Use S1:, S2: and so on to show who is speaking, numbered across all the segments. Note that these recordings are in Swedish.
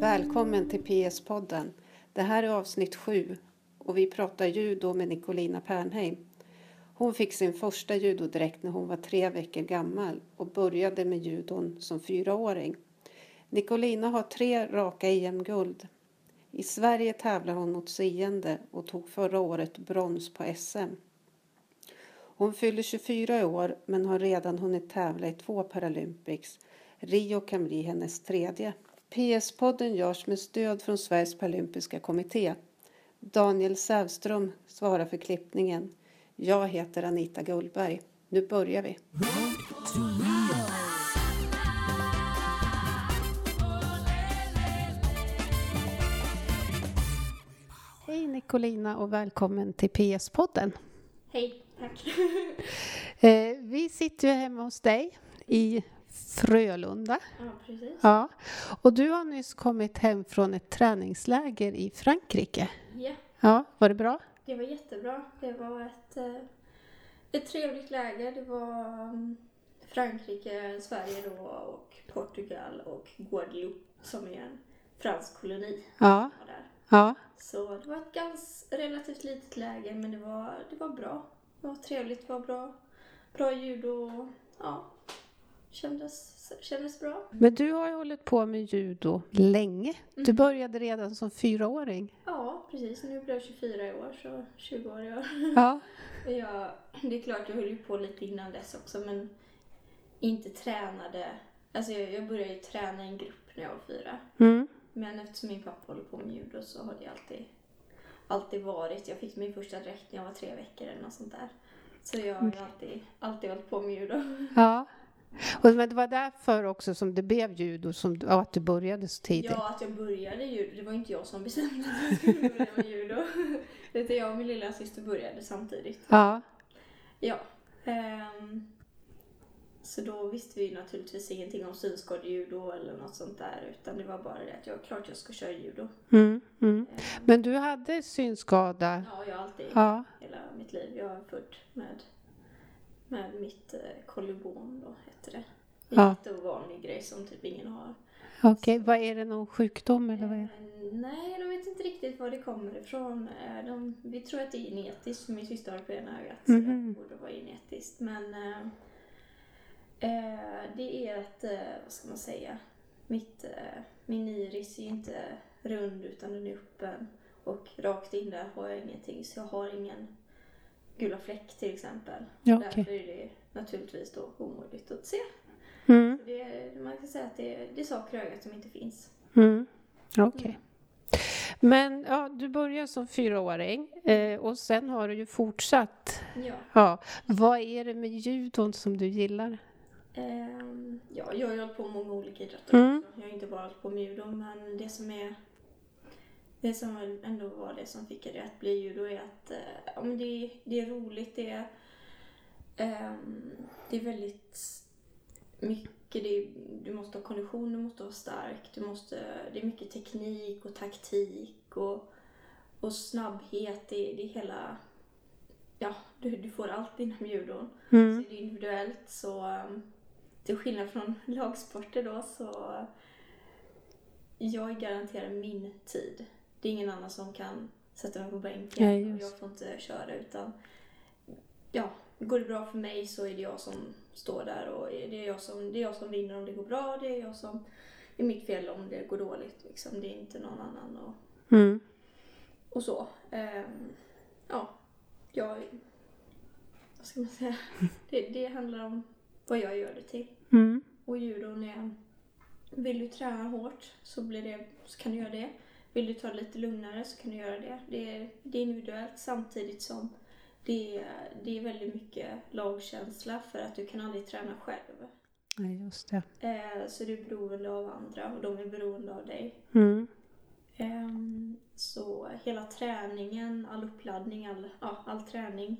S1: Välkommen till PS-podden. Det här är avsnitt 7 och vi pratar judo med Nicolina Pernheim. Hon fick sin första judodräkt när hon var tre veckor gammal och började med judon som fyraåring. Nicolina har tre raka EM-guld. I Sverige tävlar hon mot seende och tog förra året brons på SM. Hon fyller 24 i år men har redan hunnit tävla i två Paralympics. Rio kan bli hennes tredje. PS-podden görs med stöd från Sveriges Paralympiska kommitté. Daniel Sävström svarar för klippningen. Jag heter Anita Gullberg. Nu börjar vi. Hej Nicolina och välkommen till PS-podden.
S2: Hej, tack.
S1: Eh, vi sitter ju hemma hos dig i Frölunda.
S2: Ja, precis.
S1: Ja. Och du har nyss kommit hem från ett träningsläger i Frankrike.
S2: Ja,
S1: Ja, var det bra?
S2: det var jättebra. Det var ett, eh, ett trevligt läger. Det var mm, Frankrike, Sverige då och Portugal och Guadeloupe som är en fransk koloni.
S1: Ja,
S2: var Där.
S1: ja.
S2: Så det var ett ganska relativt litet läger men det var, det var bra. Det var trevligt, det var bra, bra ljud och ja, kändes, kändes bra.
S1: Men du har ju hållit på med judo länge. Du började redan som fyraåring.
S2: Ja, precis. Nu blir jag 24 i år så 20 år i år.
S1: Ja,
S2: Ja, det är klart jag höll ju på lite innan dess också men inte tränade. Alltså jag, jag började ju träna i en grupp när jag var fyra.
S1: mm.
S2: Men eftersom min pappa håller på med judo så har det alltid, alltid varit. Jag fick min första dräkt när jag var tre veckor eller något sånt där. Så jag har ju alltid, alltid hållit på med judo.
S1: ja. Och, men det var därför också som det blev judo, som, du- ja, att du började så tidigt.
S2: Ja, att jag började judo, det var ju inte jag som bestämde att jag skulle börja med judo. Utan jag och min lilla syster började samtidigt.
S1: ja.
S2: Ja. ehm, så då visste vi ju naturligtvis ingenting om synskadejudo eller något sånt där. Utan det var bara det att jag klart jag ska köra judo.
S1: Mm, mm.
S2: Ehm,
S1: Men du hade synskada?
S2: ja, jag har alltid
S1: Ja.
S2: hela mitt liv. Jag är född med, med mitt eh, kollibon då, heter det. En
S1: Ja.
S2: jätteovanlig grej som typ ingen har.
S1: Okej, vad är det? Någon sjukdom eller vad är det?
S2: Ehm, nej, de vet inte riktigt var det kommer ifrån. Eh, De, vi tror att det är genetiskt, för min syster har det på ena ögat. Så
S1: Mhm.
S2: det borde vara genetiskt. Men eh, eh, det är att, eh, vad ska man säga, mitt, eh, min iris är ju inte rund utan den är öppen. Och rakt in där har jag ingenting, så jag har ingen gula fläck till exempel.
S1: Ja, okej.
S2: Därför är det naturligtvis då omöjligt att se.
S1: Mm,
S2: Det, man kan säga att det, det är saker i ögat som inte finns.
S1: mm. Okej. Men ja, du började som fyraåring eh, och sen har du ju fortsatt.
S2: Ja.
S1: Ja. Vad är det med judon som du gillar?
S2: Ehm, ja, jag har ju hållit på med många olika idrotter
S1: Mm.
S2: också. Jag har inte bara hållit på med judo, men det som är det som väl ändå var det som fick det att bli judo är att eh, ja, men det, det är roligt, det är, ehm, det är väldigt mycket, det är, du måste ha kondition, du måste vara stark, du måste, det är mycket teknik och taktik och, och snabbhet, det, det är hela, ja, du, du får allt inom judon.
S1: Mm.
S2: Så det är individuellt så um, till skillnad från lagsporter då så uh, jag garanterar min tid. Det är ingen annan som kan sätta mig på bänken
S1: Nej,
S2: och
S1: just.
S2: jag får inte köra utan ja, går det bra för mig så är det jag som står där och är det, är jag som, det är jag som vinner om det går bra, det är jag som det är mitt fel om det går dåligt liksom. Det är inte någon annan och,
S1: Mm.
S2: och så. Ehm, ja, jag... Vad ska man säga? Det, det handlar om vad jag gör det till.
S1: Mm.
S2: Och judon är... Vill du träna hårt så, blir det, så kan du göra det. Vill du ta det lite lugnare så kan du göra det. Det är, det är individuellt samtidigt som det är, det är väldigt mycket lagkänsla för att du kan aldrig träna själv.
S1: Ja, just det.
S2: Eh, så du är beroende av andra och de är beroende av dig.
S1: Mm.
S2: Ehm, Så hela träningen, all uppladdning, all, ja, all träning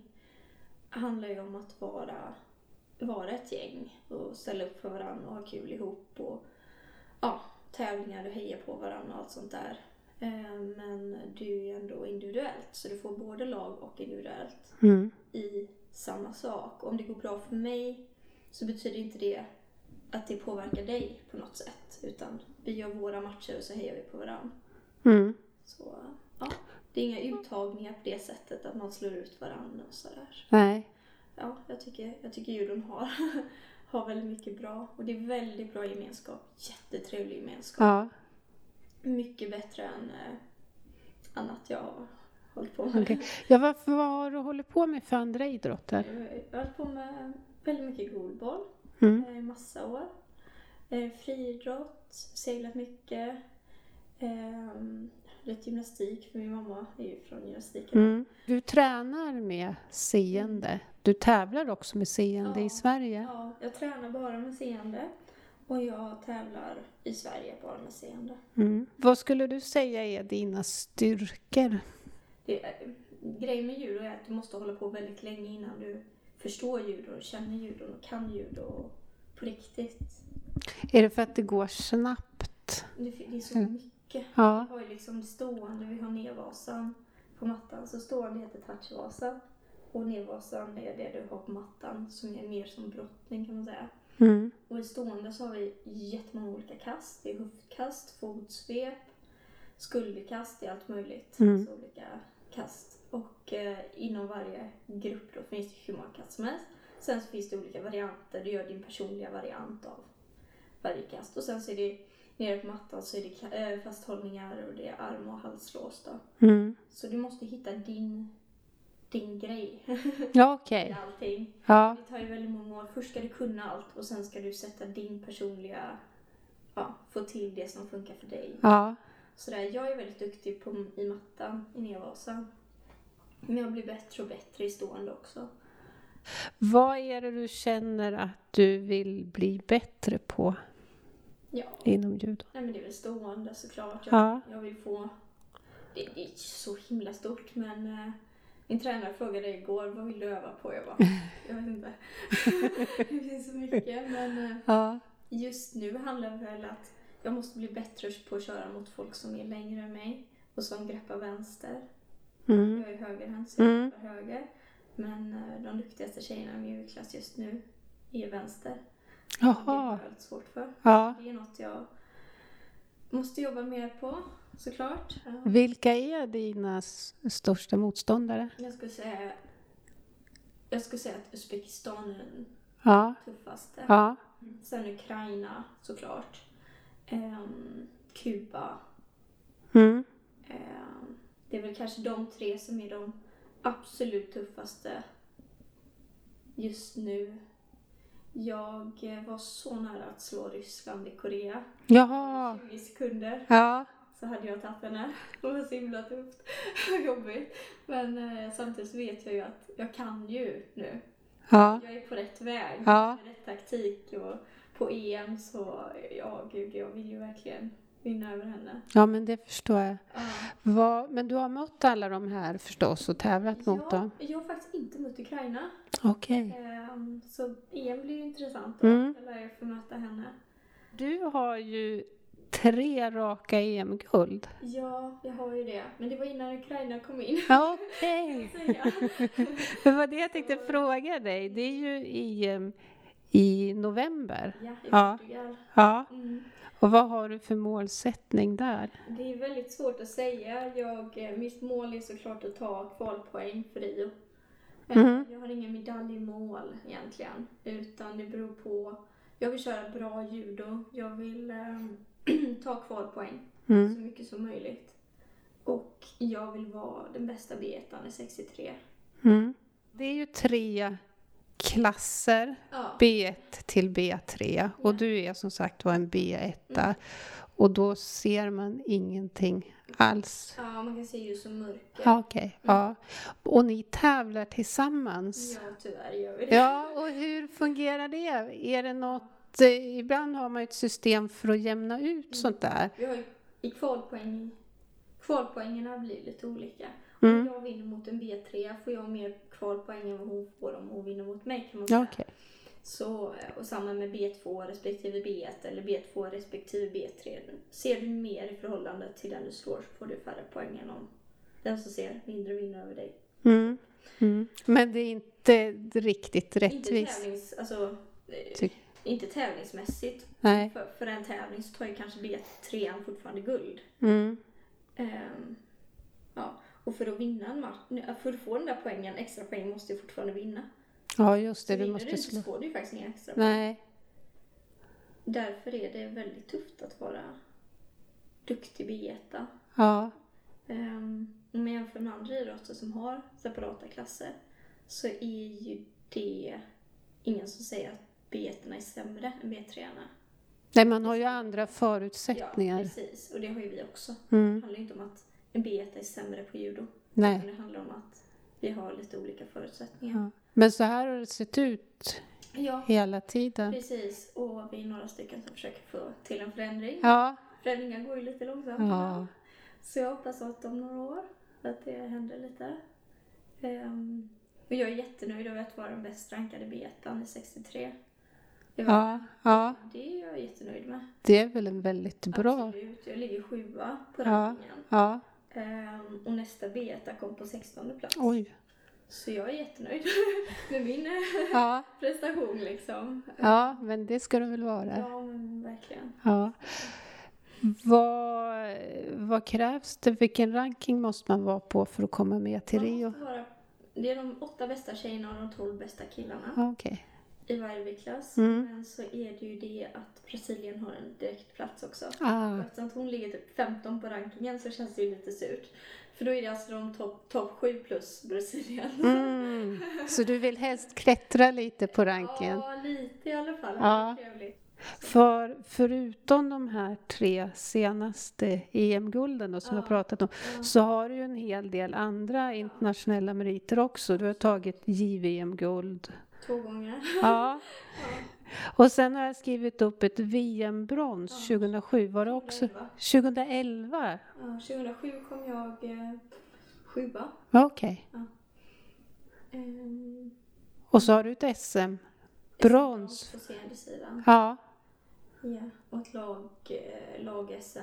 S2: handlar ju om att vara, vara ett gäng och ställa upp för varandra och ha kul ihop och ja, tävlingar och heja på varandra och allt sånt där. Ehm, Men du är ju ändå individuellt så du får både lag och individuellt
S1: Mm.
S2: i samma sak. Om det går bra för mig så betyder inte det att det påverkar dig på något sätt. Utan vi gör våra matcher och så hejar vi på varandra.
S1: Mm.
S2: Så ja, det är inga uttagningar på det sättet att man slår ut varandra och sådär.
S1: Nej.
S2: Ja, jag tycker, jag tycker judon har, har väldigt mycket bra. Och det är väldigt bra gemenskap. Jättetrevlig gemenskap.
S1: Ja.
S2: Mycket bättre än eh, annat jag har hållit på med.
S1: okej. Ja, varför har du hållit på med för andra idrotter?
S2: Jag har hållit på med väldigt mycket goalball
S1: Mm.
S2: eh, i massa år. Eh, Friidrott, seglat mycket. ehm, Lite gymnastik, för min mamma är ju från gymnastiken.
S1: Mm. Du tränar med seende. Du tävlar också med seende
S2: Ja.
S1: i Sverige.
S2: Ja, jag tränar bara med seende och jag tävlar i Sverige bara med seende.
S1: Mm. Vad skulle du säga är dina styrkor?
S2: Det, eh, grejen med judo är att du måste hålla på väldigt länge innan du förstår judo, och känner judo och kan judo på riktigt.
S1: Är det för att det går snabbt?
S2: Det, fi- det är så
S1: Mm.
S2: mycket.
S1: Ja.
S2: Vi har ju liksom det stående, vi har nedvasan på mattan. Så stående heter touchvasan. Och nedvasan är det du har på mattan som är mer som brottning kan man säga.
S1: Mm.
S2: Och i stående så har vi jättemånga olika kast. Det är höftkast, fotsvep, skulderkast, det är allt möjligt.
S1: Mm.
S2: Så olika kast. Och eh, inom varje grupp då finns det hur många kast som helst. Sen så finns det olika varianter. Du gör din personliga variant av varje kast. Och sen så är det nere på mattan så är det ka- eh, fasthållningar och det är arm och halslås då.
S1: Mm.
S2: Så du måste hitta din, din grej
S1: Ja,
S2: i
S1: okej.
S2: allting.
S1: Ja.
S2: Det tar ju väldigt många år. Först ska du kunna allt och sen ska du sätta din personliga... Ja, få till det som funkar för dig.
S1: Ja.
S2: Sådär, jag är väldigt duktig på, i mattan, i nedvasan. Men jag blir bättre och bättre i stående också.
S1: Vad är det du känner att du vill bli bättre på
S2: Ja,
S1: inom judo?
S2: nej men det är väl stående såklart. Jag,
S1: Ja.
S2: jag vill få... Det, det är så himla stort men... Eh, min tränare frågade igår, vad vill du öva på? Jag bara, jag vet inte. det finns så mycket men... Eh,
S1: Ja.
S2: Just nu handlar det väl att jag måste bli bättre på att köra mot folk som är längre än mig och som greppar vänster.
S1: Mm.
S2: Jag är högerhänt så jag
S1: Mm.
S2: greppar höger. Men eh, de duktigaste tjejerna i min U-klass just nu är vänster. Och Det
S1: Jaha.
S2: har jag lite svårt för.
S1: Ja.
S2: Det är något jag måste jobba mer på såklart.
S1: Mm.
S2: Ja.
S1: Vilka är dina s- största motståndare?
S2: Jag skulle säga, jag skulle säga att Uzbekistan är den
S1: Ja.
S2: tuffaste.
S1: Ja.
S2: Sen Ukraina såklart. Ehm, Kuba.
S1: Mm.
S2: Eh, Det är väl kanske de tre som är de absolut tuffaste just nu. Jag eh, var så nära att slå Ryssland i Korea.
S1: Jaha.
S2: 20 sekunder
S1: Ja.
S2: så hade jag tagit henne. Det var så himla tufft och jobbigt. Men eh, samtidigt så vet jag ju att jag kan ju nu.
S1: Ja.
S2: Jag är på rätt väg.
S1: Ja.
S2: Med rätt taktik och på EM så, ja gud, jag vill ju verkligen vinna över henne.
S1: Ja, men det förstår jag.
S2: Ja.
S1: Vad- men du har mött alla de här förstås och tävlat mot
S2: Jag,
S1: dem?
S2: jag har faktiskt inte mött Ukraina.
S1: Okej.
S2: Ehm, Så EM blir ju intressant då.
S1: Mm.
S2: Jag lär ju få möta henne.
S1: Du har ju tre raka EM-guld.
S2: Ja, jag har ju det. Men det var innan Ukraina kom in.
S1: Ja, Okej.
S2: Så ja.
S1: Det var det jag tänkte fråga dig. Det är ju i, em, i november.
S2: ja, i
S1: Ja.
S2: Portugal.
S1: Ja.
S2: Mm.
S1: Och vad har du för målsättning där?
S2: Det är väldigt svårt att säga. Jag, eh, mitt mål är såklart att ta kvalpoäng för Rio. Eh,
S1: Mhm.
S2: Jag har ingen medalj i mål egentligen. Utan det beror på. Jag vill köra bra judo. Jag vill ehm, ta kvalpoäng.
S1: Mm.
S2: så mycket som möjligt. Och jag vill vara den bästa B1 i 63.
S1: Mm. Det är ju tre klasser,
S2: Ja.
S1: B1 till B3. Och du är som sagt var en B1. Och då ser man ingenting alls.
S2: ja, man kan se ljus och mörker.
S1: Ja, Okej. Ja. Och ni tävlar tillsammans?
S2: Ja, tyvärr gör vi det.
S1: Ja, och hur fungerar det? Är det något... eh, Ibland har man ju ett system för att jämna ut sånt där.
S2: Vi har ju i kvalpoäng, kvalpoängerna blir lite olika.
S1: Mm.
S2: Om jag vinner mot en B3 får jag mer kvalpoäng än vad hon får om hon vinner mot mig kan man
S1: Ja,
S2: säga.
S1: okej.
S2: Så, eh, och samma med B2 respektive B1 eller B2 respektive B3. Ser du mer i förhållande till den du slår så får du färre poäng än om den som ser mindre vinner över dig.
S1: Mm. Mm. Men det är inte riktigt
S2: Inte
S1: rättvist.
S2: tävlings... Alltså, eh,
S1: Ty-
S2: inte tävlingsmässigt.
S1: Nej.
S2: För, för en tävling så tar ju kanske B3 fortfarande guld.
S1: Mm.
S2: Ehm, ja. Och för att vinna en match, för att få den där poängen, extra poäng måste du fortfarande vinna.
S1: Ja, just det.
S2: Vinner
S1: Du
S2: du
S1: måste
S2: inte
S1: slå.
S2: så får du ju faktiskt inga extra poäng.
S1: Nej.
S2: Därför är det väldigt tufft att vara duktig B1.
S1: Ja.
S2: Ehm, Om man jämför med andra idrotter som har separata klasser så är ju det ingen som säger att B1 är sämre än B3.
S1: Nej, man har ju andra
S2: Ja,
S1: förutsättningar.
S2: precis. Och det har ju vi också. Det
S1: Mm.
S2: handlar ju inte om att en B1 är sämre på judo.
S1: Nej.
S2: utan Det handlar om att vi har lite olika förutsättningar.
S1: Ja. Men så här har det sett ut
S2: Ja,
S1: hela tiden.
S2: precis. Och vi är några stycken som försöker få till en förändring.
S1: Ja.
S2: Förändringar går ju lite långsamt.
S1: Ja.
S2: Så jag hoppas att om några år att det händer lite. Ehm, och jag är jättenöjd över att vara den bäst rankade betan i 63. Det, var,
S1: Ja. Ja.
S2: det är jag jättenöjd med.
S1: Det är väl en väldigt bra...
S2: Absolut. Jag ligger sjua på
S1: Ja.
S2: rankingen.
S1: Ja.
S2: Ehm, och nästa beta kom på 16 plats.
S1: Oj.
S2: Så jag är jättenöjd med min eh,
S1: Ja.
S2: prestation liksom.
S1: Ja, men det ska det väl vara.
S2: Ja, men verkligen.
S1: Ja. Vad, vad krävs det? Vilken ranking måste man vara på för att komma med till
S2: Man
S1: Rio?
S2: måste vara, det är de åtta bästa tjejerna och de tolv bästa killarna.
S1: Ja, Okej.
S2: i varje viktklass.
S1: Mm.
S2: Men så är det ju det att Brasilien har en direktplats också.
S1: Ah,
S2: Och Eftersom att hon ligger typ 15 på rankingen så känns det ju lite surt. För då är det alltså de topp top 7 plus Brasilien.
S1: Mm. Så du vill helst klättra lite på ranken?
S2: Ja, lite i alla fall.
S1: Ja.
S2: Ja. Trevligt.
S1: För förutom de här tre senaste EM-gulden då, som vi har pratat om så har du ju en hel del andra internationella meriter också. Du har tagit JVM-guld.
S2: Två gånger.
S1: Ja. Och sen har jag skrivit upp ett VM-brons 2007. Var det också?
S2: 2011.
S1: 2011?
S2: Ja, 2007 kom jag eh, sjua.
S1: Ja, Okej.
S2: Ehm,
S1: Och så har du ett SM. Brons.
S2: På seendesidan.
S1: Ja.
S2: Ja. Och ett lag, eh, lag-SM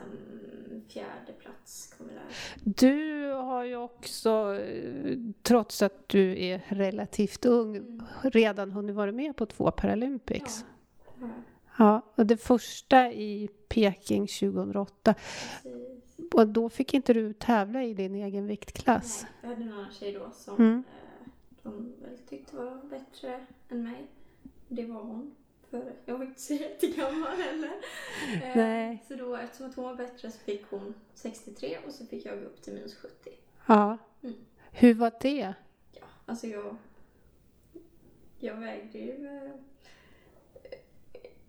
S2: fjärde plats kommer där.
S1: Du har ju också, eh, trots att du är relativt ung, redan hunnit vara med på två Paralympics.
S2: Mm. Ja. Ja.
S1: Ja, och det första i Peking 2008.
S2: Precis.
S1: Och då fick inte du tävla i din egen viktklass.
S2: Nej, jag hade en annan tjej då som
S1: Mm.
S2: eh, de väl tyckte var bättre än mig. Det var hon. För jag var inte så jättegammal heller. Eh,
S1: Nej.
S2: Så då, eftersom att hon var bättre så fick hon 63 och så fick jag gå upp till minus 70.
S1: Ja.
S2: Mm.
S1: Hur var det?
S2: Ja, alltså jag... Jag vägde ju... Eh,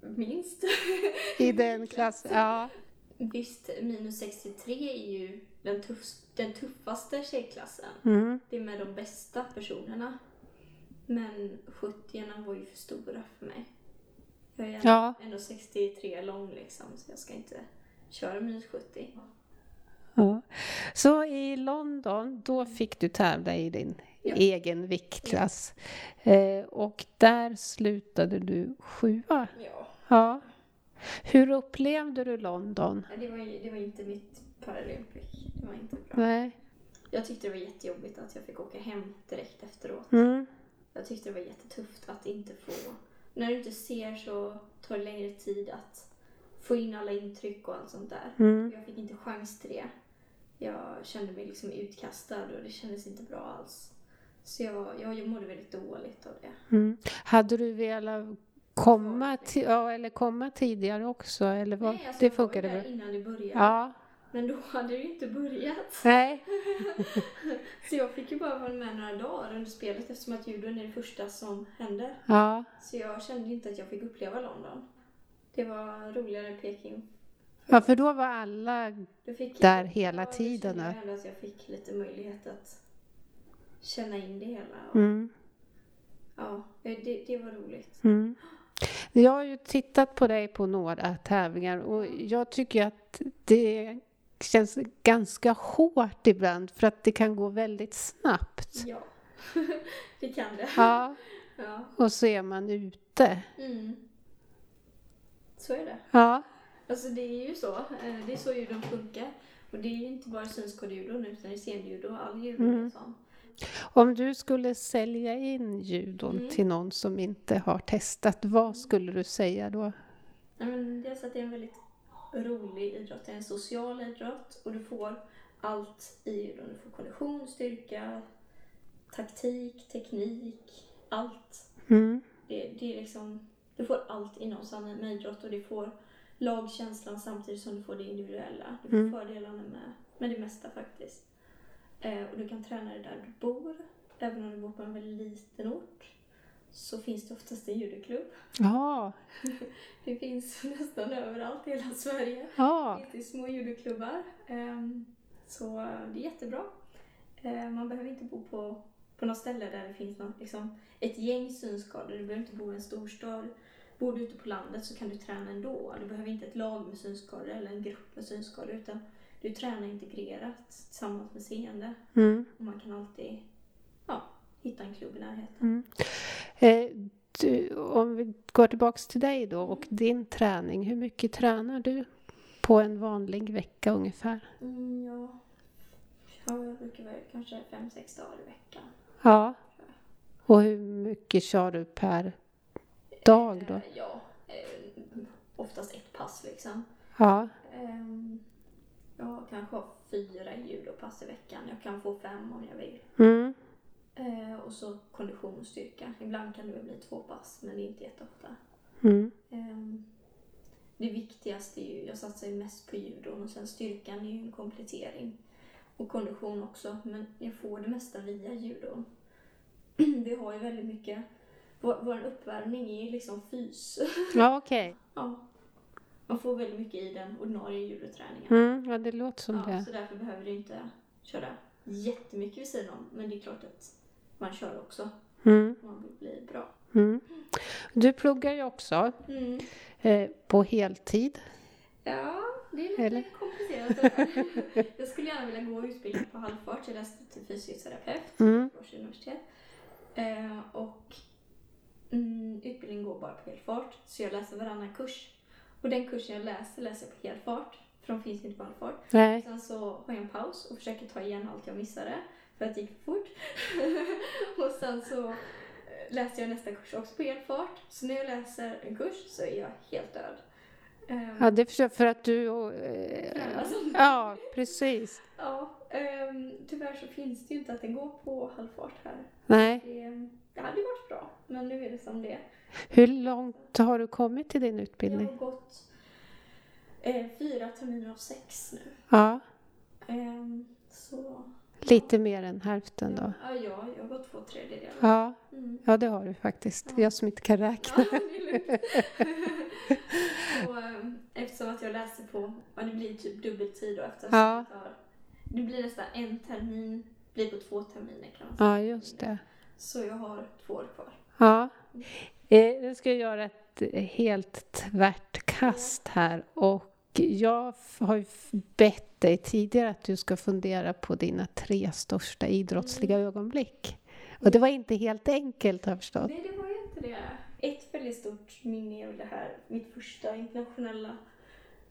S2: minst.
S1: I den klassen? Ja.
S2: Visst, minus 63 är ju den, tuff, den tuffaste tjejklassen.
S1: Mm.
S2: Det är med de bästa personerna. Men 70 var ju för stora för mig. Jag är
S1: Ja.
S2: ändå 63 lång liksom, så jag ska inte köra minus 70.
S1: ja. Så i London, då fick du tävla i din
S2: Mm. Ja.
S1: egen viktklass. Eh, och där slutade du sjua.
S2: Ja,
S1: Ja. Hur upplevde du London?
S2: det var, ju, det var inte mitt Paralympic. Det var inte bra.
S1: Nej.
S2: Jag tyckte det var jättejobbigt att jag fick åka hem direkt efteråt.
S1: Mm.
S2: Jag tyckte det var jättetufft att inte få... När du inte ser så tar det längre tid att få in alla intryck och allt sånt där.
S1: Mm.
S2: Jag fick inte chans till det. Jag kände mig liksom utkastad och det kändes inte bra alls. Så jag, jag mådde väldigt dåligt av det.
S1: Mm. Hade du velat komma, ti- ja, eller komma tidigare också? Eller vad?
S2: Nej, alltså
S1: det
S2: jag var ju
S1: funkade
S2: där
S1: bra?
S2: innan det började.
S1: Ja.
S2: Men då hade det ju inte börjat.
S1: Nej.
S2: Så jag fick ju bara vara med några dagar under spelet eftersom att judon är det första som händer.
S1: Ja.
S2: Så jag kände ju inte att jag fick uppleva London. Det var roligare än Peking.
S1: ja, för då var alla...
S2: Du fick
S1: Där hela
S2: ja, då
S1: tiden,
S2: kände
S1: va?
S2: Jag ändå att jag fick lite möjlighet att känna in det hela. Och,
S1: Mm.
S2: Ja, eh, det, det var roligt.
S1: Mm. Jag har ju tittat på dig på några tävlingar och jag tycker att det känns ganska hårt ibland för att det kan gå väldigt snabbt.
S2: Ja, det kan det.
S1: Ja,
S2: Ja.
S1: och så är man ute.
S2: Mm. Så är det.
S1: Ja,
S2: Alltså det är ju så. Eh, Det är
S1: Mm.
S2: så judon funkar. Och det är ju inte bara synskadejudon utan det är senjudo och all judo. Liksom.
S1: Om du skulle sälja in judon
S2: Mm.
S1: till någon som inte har testat, vad skulle du säga då?
S2: Ja, men dels att det är en väldigt rolig idrott. Det är en social idrott och du får allt i judon. Du får kondition, styrka, taktik, teknik, allt.
S1: Mm.
S2: Det, det är liksom, du får allt inom samma med idrott och du får lagkänslan samtidigt som du får det individuella. Du får
S1: Mm.
S2: fördelarna med, med det mesta faktiskt. Eh, och du kan träna det där du bor. Även om du bor på en väldigt liten ort så finns det oftast en judoklubb.
S1: Ja,
S2: Det finns nästan överallt i hela Sverige.
S1: ja.
S2: Det är små judoklubbar. ehm, Så det är jättebra. Ehm, Man behöver inte bo på, på något ställe där det finns något, liksom, ett gäng synskador. Du behöver inte bo i en storstad. Bor du ute på landet så kan du träna ändå. Du behöver inte ett lag med synskador eller en grupp med synskador utan du tränar integrerat tillsammans med seende.
S1: Mm.
S2: Och man kan alltid ja, hitta en klubb i närheten.
S1: Mm. Eh, du, om vi går tillbaks till dig då och
S2: Mm.
S1: din träning. Hur mycket tränar du på en vanlig vecka ungefär?
S2: Mm, ja. ja, jag brukar vara kanske fem sex dagar i veckan.
S1: Ja. Och hur mycket kör du per dag då?
S2: Eh, Ja, eh, oftast ett pass liksom.
S1: Ja.
S2: Ehm, Jag kanske har fyra judopass i veckan. Jag kan få fem om jag vill.
S1: Mm.
S2: Eh, Och så kondition och styrka. Ibland kan det väl bli två pass, men det är inte jätteofta.
S1: Mm.
S2: Ehm, Det viktigaste är ju, jag satsar ju mest på judon och sen styrkan är ju en komplettering. Och kondition också, men jag får det mesta via judon. Vi har ju väldigt mycket, vår, vår uppvärmning är ju liksom fys.
S1: Ja, okej.
S2: Ja. Man får väldigt mycket i den ordinarie judoträningen.
S1: Mm. Ja, det låter som
S2: ja,
S1: det.
S2: så därför behöver du inte köra jättemycket vid sidan om. Men det är klart att man kör också
S1: Mm.
S2: om man vill bli bra.
S1: Mm. Du pluggar ju också
S2: Mm.
S1: eh, på heltid.
S2: Ja, det är lite
S1: Eller?
S2: komplicerat det där. Jag skulle gärna vilja gå utbildning på halvfart. Jag läste till fysioterapeut på
S1: Mm.
S2: Göteborgs universitet. Eh, och mm, utbildningen går bara på helfart. Så jag läser varannan kurs. Och den kursen jag läser, läser jag på helfart. För de finns inte på halvfart.
S1: Nej.
S2: Sen så har jag en paus och försöker ta igen allt jag missade för att det gick för fort. och sen så eh, läser jag nästa kurs också på elfart. Så när jag läser en kurs så är jag helt död. Ehm,
S1: Ja, det försöker för att du... och, eh,
S2: Tränar som-
S1: ja, precis.
S2: ja, ehm, tyvärr så finns det ju inte att den går på halvfart här.
S1: Nej.
S2: Det, det hade ju varit bra, men nu är det som det är.
S1: Hur långt har du kommit i din
S2: Jag
S1: utbildning?
S2: har gått eh, fyra terminer av sex nu.
S1: Ja,
S2: Ehm, så,
S1: lite mer än hälften
S2: ja,
S1: då.
S2: ja, jag har gått två tredjedelar.
S1: Ja,
S2: Mm.
S1: ja det har du faktiskt. Jag som inte kan räkna.
S2: Ja, det är lugnt. och, ehm, eftersom att jag läser på, ja det blir typ dubbeltid då eftersom
S1: Ja.
S2: att jag tar, det blir nästan en termin, blir på två terminer kan man säga.
S1: Ja, just det.
S2: Så jag har två år kvar.
S1: Ja. Eh, Nu ska jag göra ett eh, helt tvärt kast här och jag f- har ju f- bett dig tidigare att du ska fundera på dina tre största idrottsliga ögonblick. Och det var inte helt enkelt har jag förstått.
S2: Nej det var ju inte det. Ett väldigt stort minne är väl det här, mitt första internationella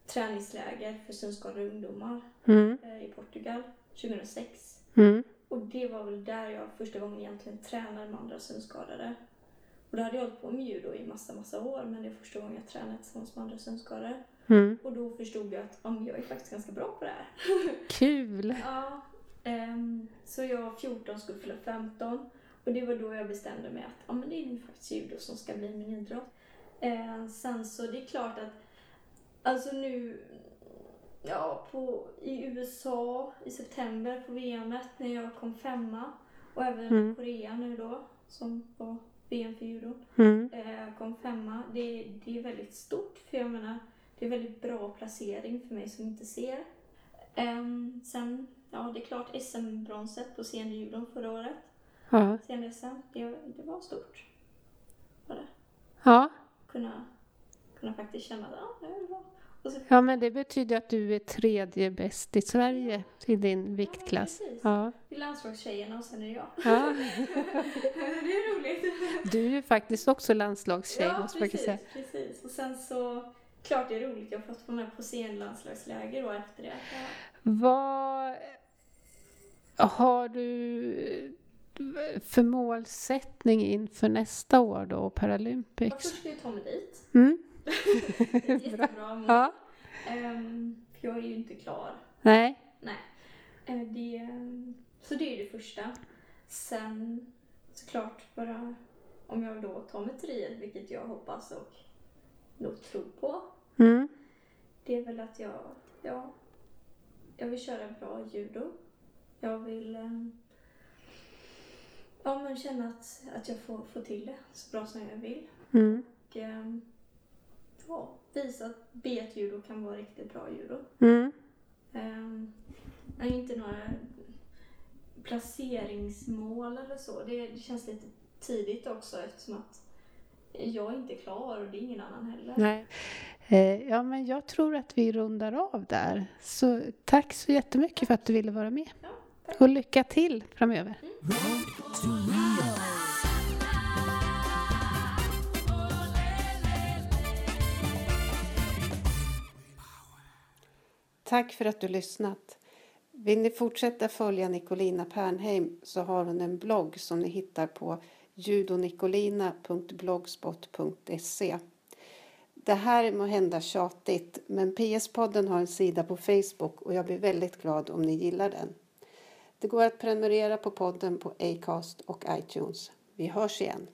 S2: träningsläger för synskadade ungdomar
S1: Mm,
S2: eh, i Portugal 2006.
S1: mm,
S2: Och det var väl där jag första gången egentligen tränade med andra synskadade. Och då hade jag hållit på med judo i massa, massa år, men det är första gången jag tränade tillsammans med andra synskadade.
S1: mm.
S2: Och då förstod jag att ja, men jag är faktiskt ganska bra på det här.
S1: Kul!
S2: ja, ehm, så jag var 14 skulle fylla 15. Och det var då jag bestämde mig att ja, men det är nog faktiskt judo som ska bli min idrott. Eh, sen så det är klart att, alltså nu, ja, på, i USA i september på VMet när jag kom femma och även
S1: Mm.
S2: Korea nu då som var VM för judo
S1: Mm,
S2: eh, kom femma. Det, det är väldigt stort för jag menar, det är väldigt bra placering för mig som inte ser. Ehm, sen, ja det är klart SM-bronset på seniorjudon förra året,
S1: ja.
S2: senior-SM, det, det var stort. Var det?
S1: ja.
S2: Kunna, kunna faktiskt känna att ja, det är bra. Och så,
S1: Ja, men det betyder att du är tredje bäst i Sverige i din viktklass.
S2: Ja, precis.
S1: Ja,
S2: det är landslagstjejerna och sen är det jag.
S1: ja.
S2: det är roligt.
S1: Du är ju faktiskt också landslagstjej,
S2: ja,
S1: måste man
S2: precis,
S1: kunna säga.
S2: precis. Och sen så, klart det är roligt, jag har fått vara med på scenlandslagsläger då efter det. Ja.
S1: Vad har du för målsättning inför nästa år då, och
S2: Jag
S1: Paralympics?
S2: först ska jag ta mig dit.
S1: Mm?
S2: Det är ett Jättebra mål.
S1: Ja.
S2: Ehm, för jag är ju inte klar.
S1: Nej?
S2: Nej. Eh, det, så det är ju det första. Sen såklart bara om jag då tar mig till Riet, vilket jag hoppas och nog tror på.
S1: Mm.
S2: Det är väl att jag, ja, jag vill köra bra judo. Jag vill eh, ja, men känna att, att jag får, får till det så bra som jag vill.
S1: Mm.
S2: Och, eh, ja, visa att B-judo kan vara riktigt bra judo.
S1: Mm.
S2: Ehm, nej, inte några placeringsmål eller så. Det, det känns lite tidigt också eftersom att jag inte är klar och det är ingen annan heller.
S1: Nej. Eh, Ja, men jag tror att vi rundar av där. Så tack så jättemycket för att du ville vara med.
S2: Ja,
S1: Och lycka till framöver. Tack för att du lyssnat. Vill ni fortsätta följa Nicolina Pernheim så har hon en blogg som ni hittar på judonicolina.blogspot.se. Det här är måhända tjatigt men PS-podden har en sida på Facebook och jag blir väldigt glad om ni gillar den. Det går att prenumerera på podden på Acast och iTunes. Vi hörs igen.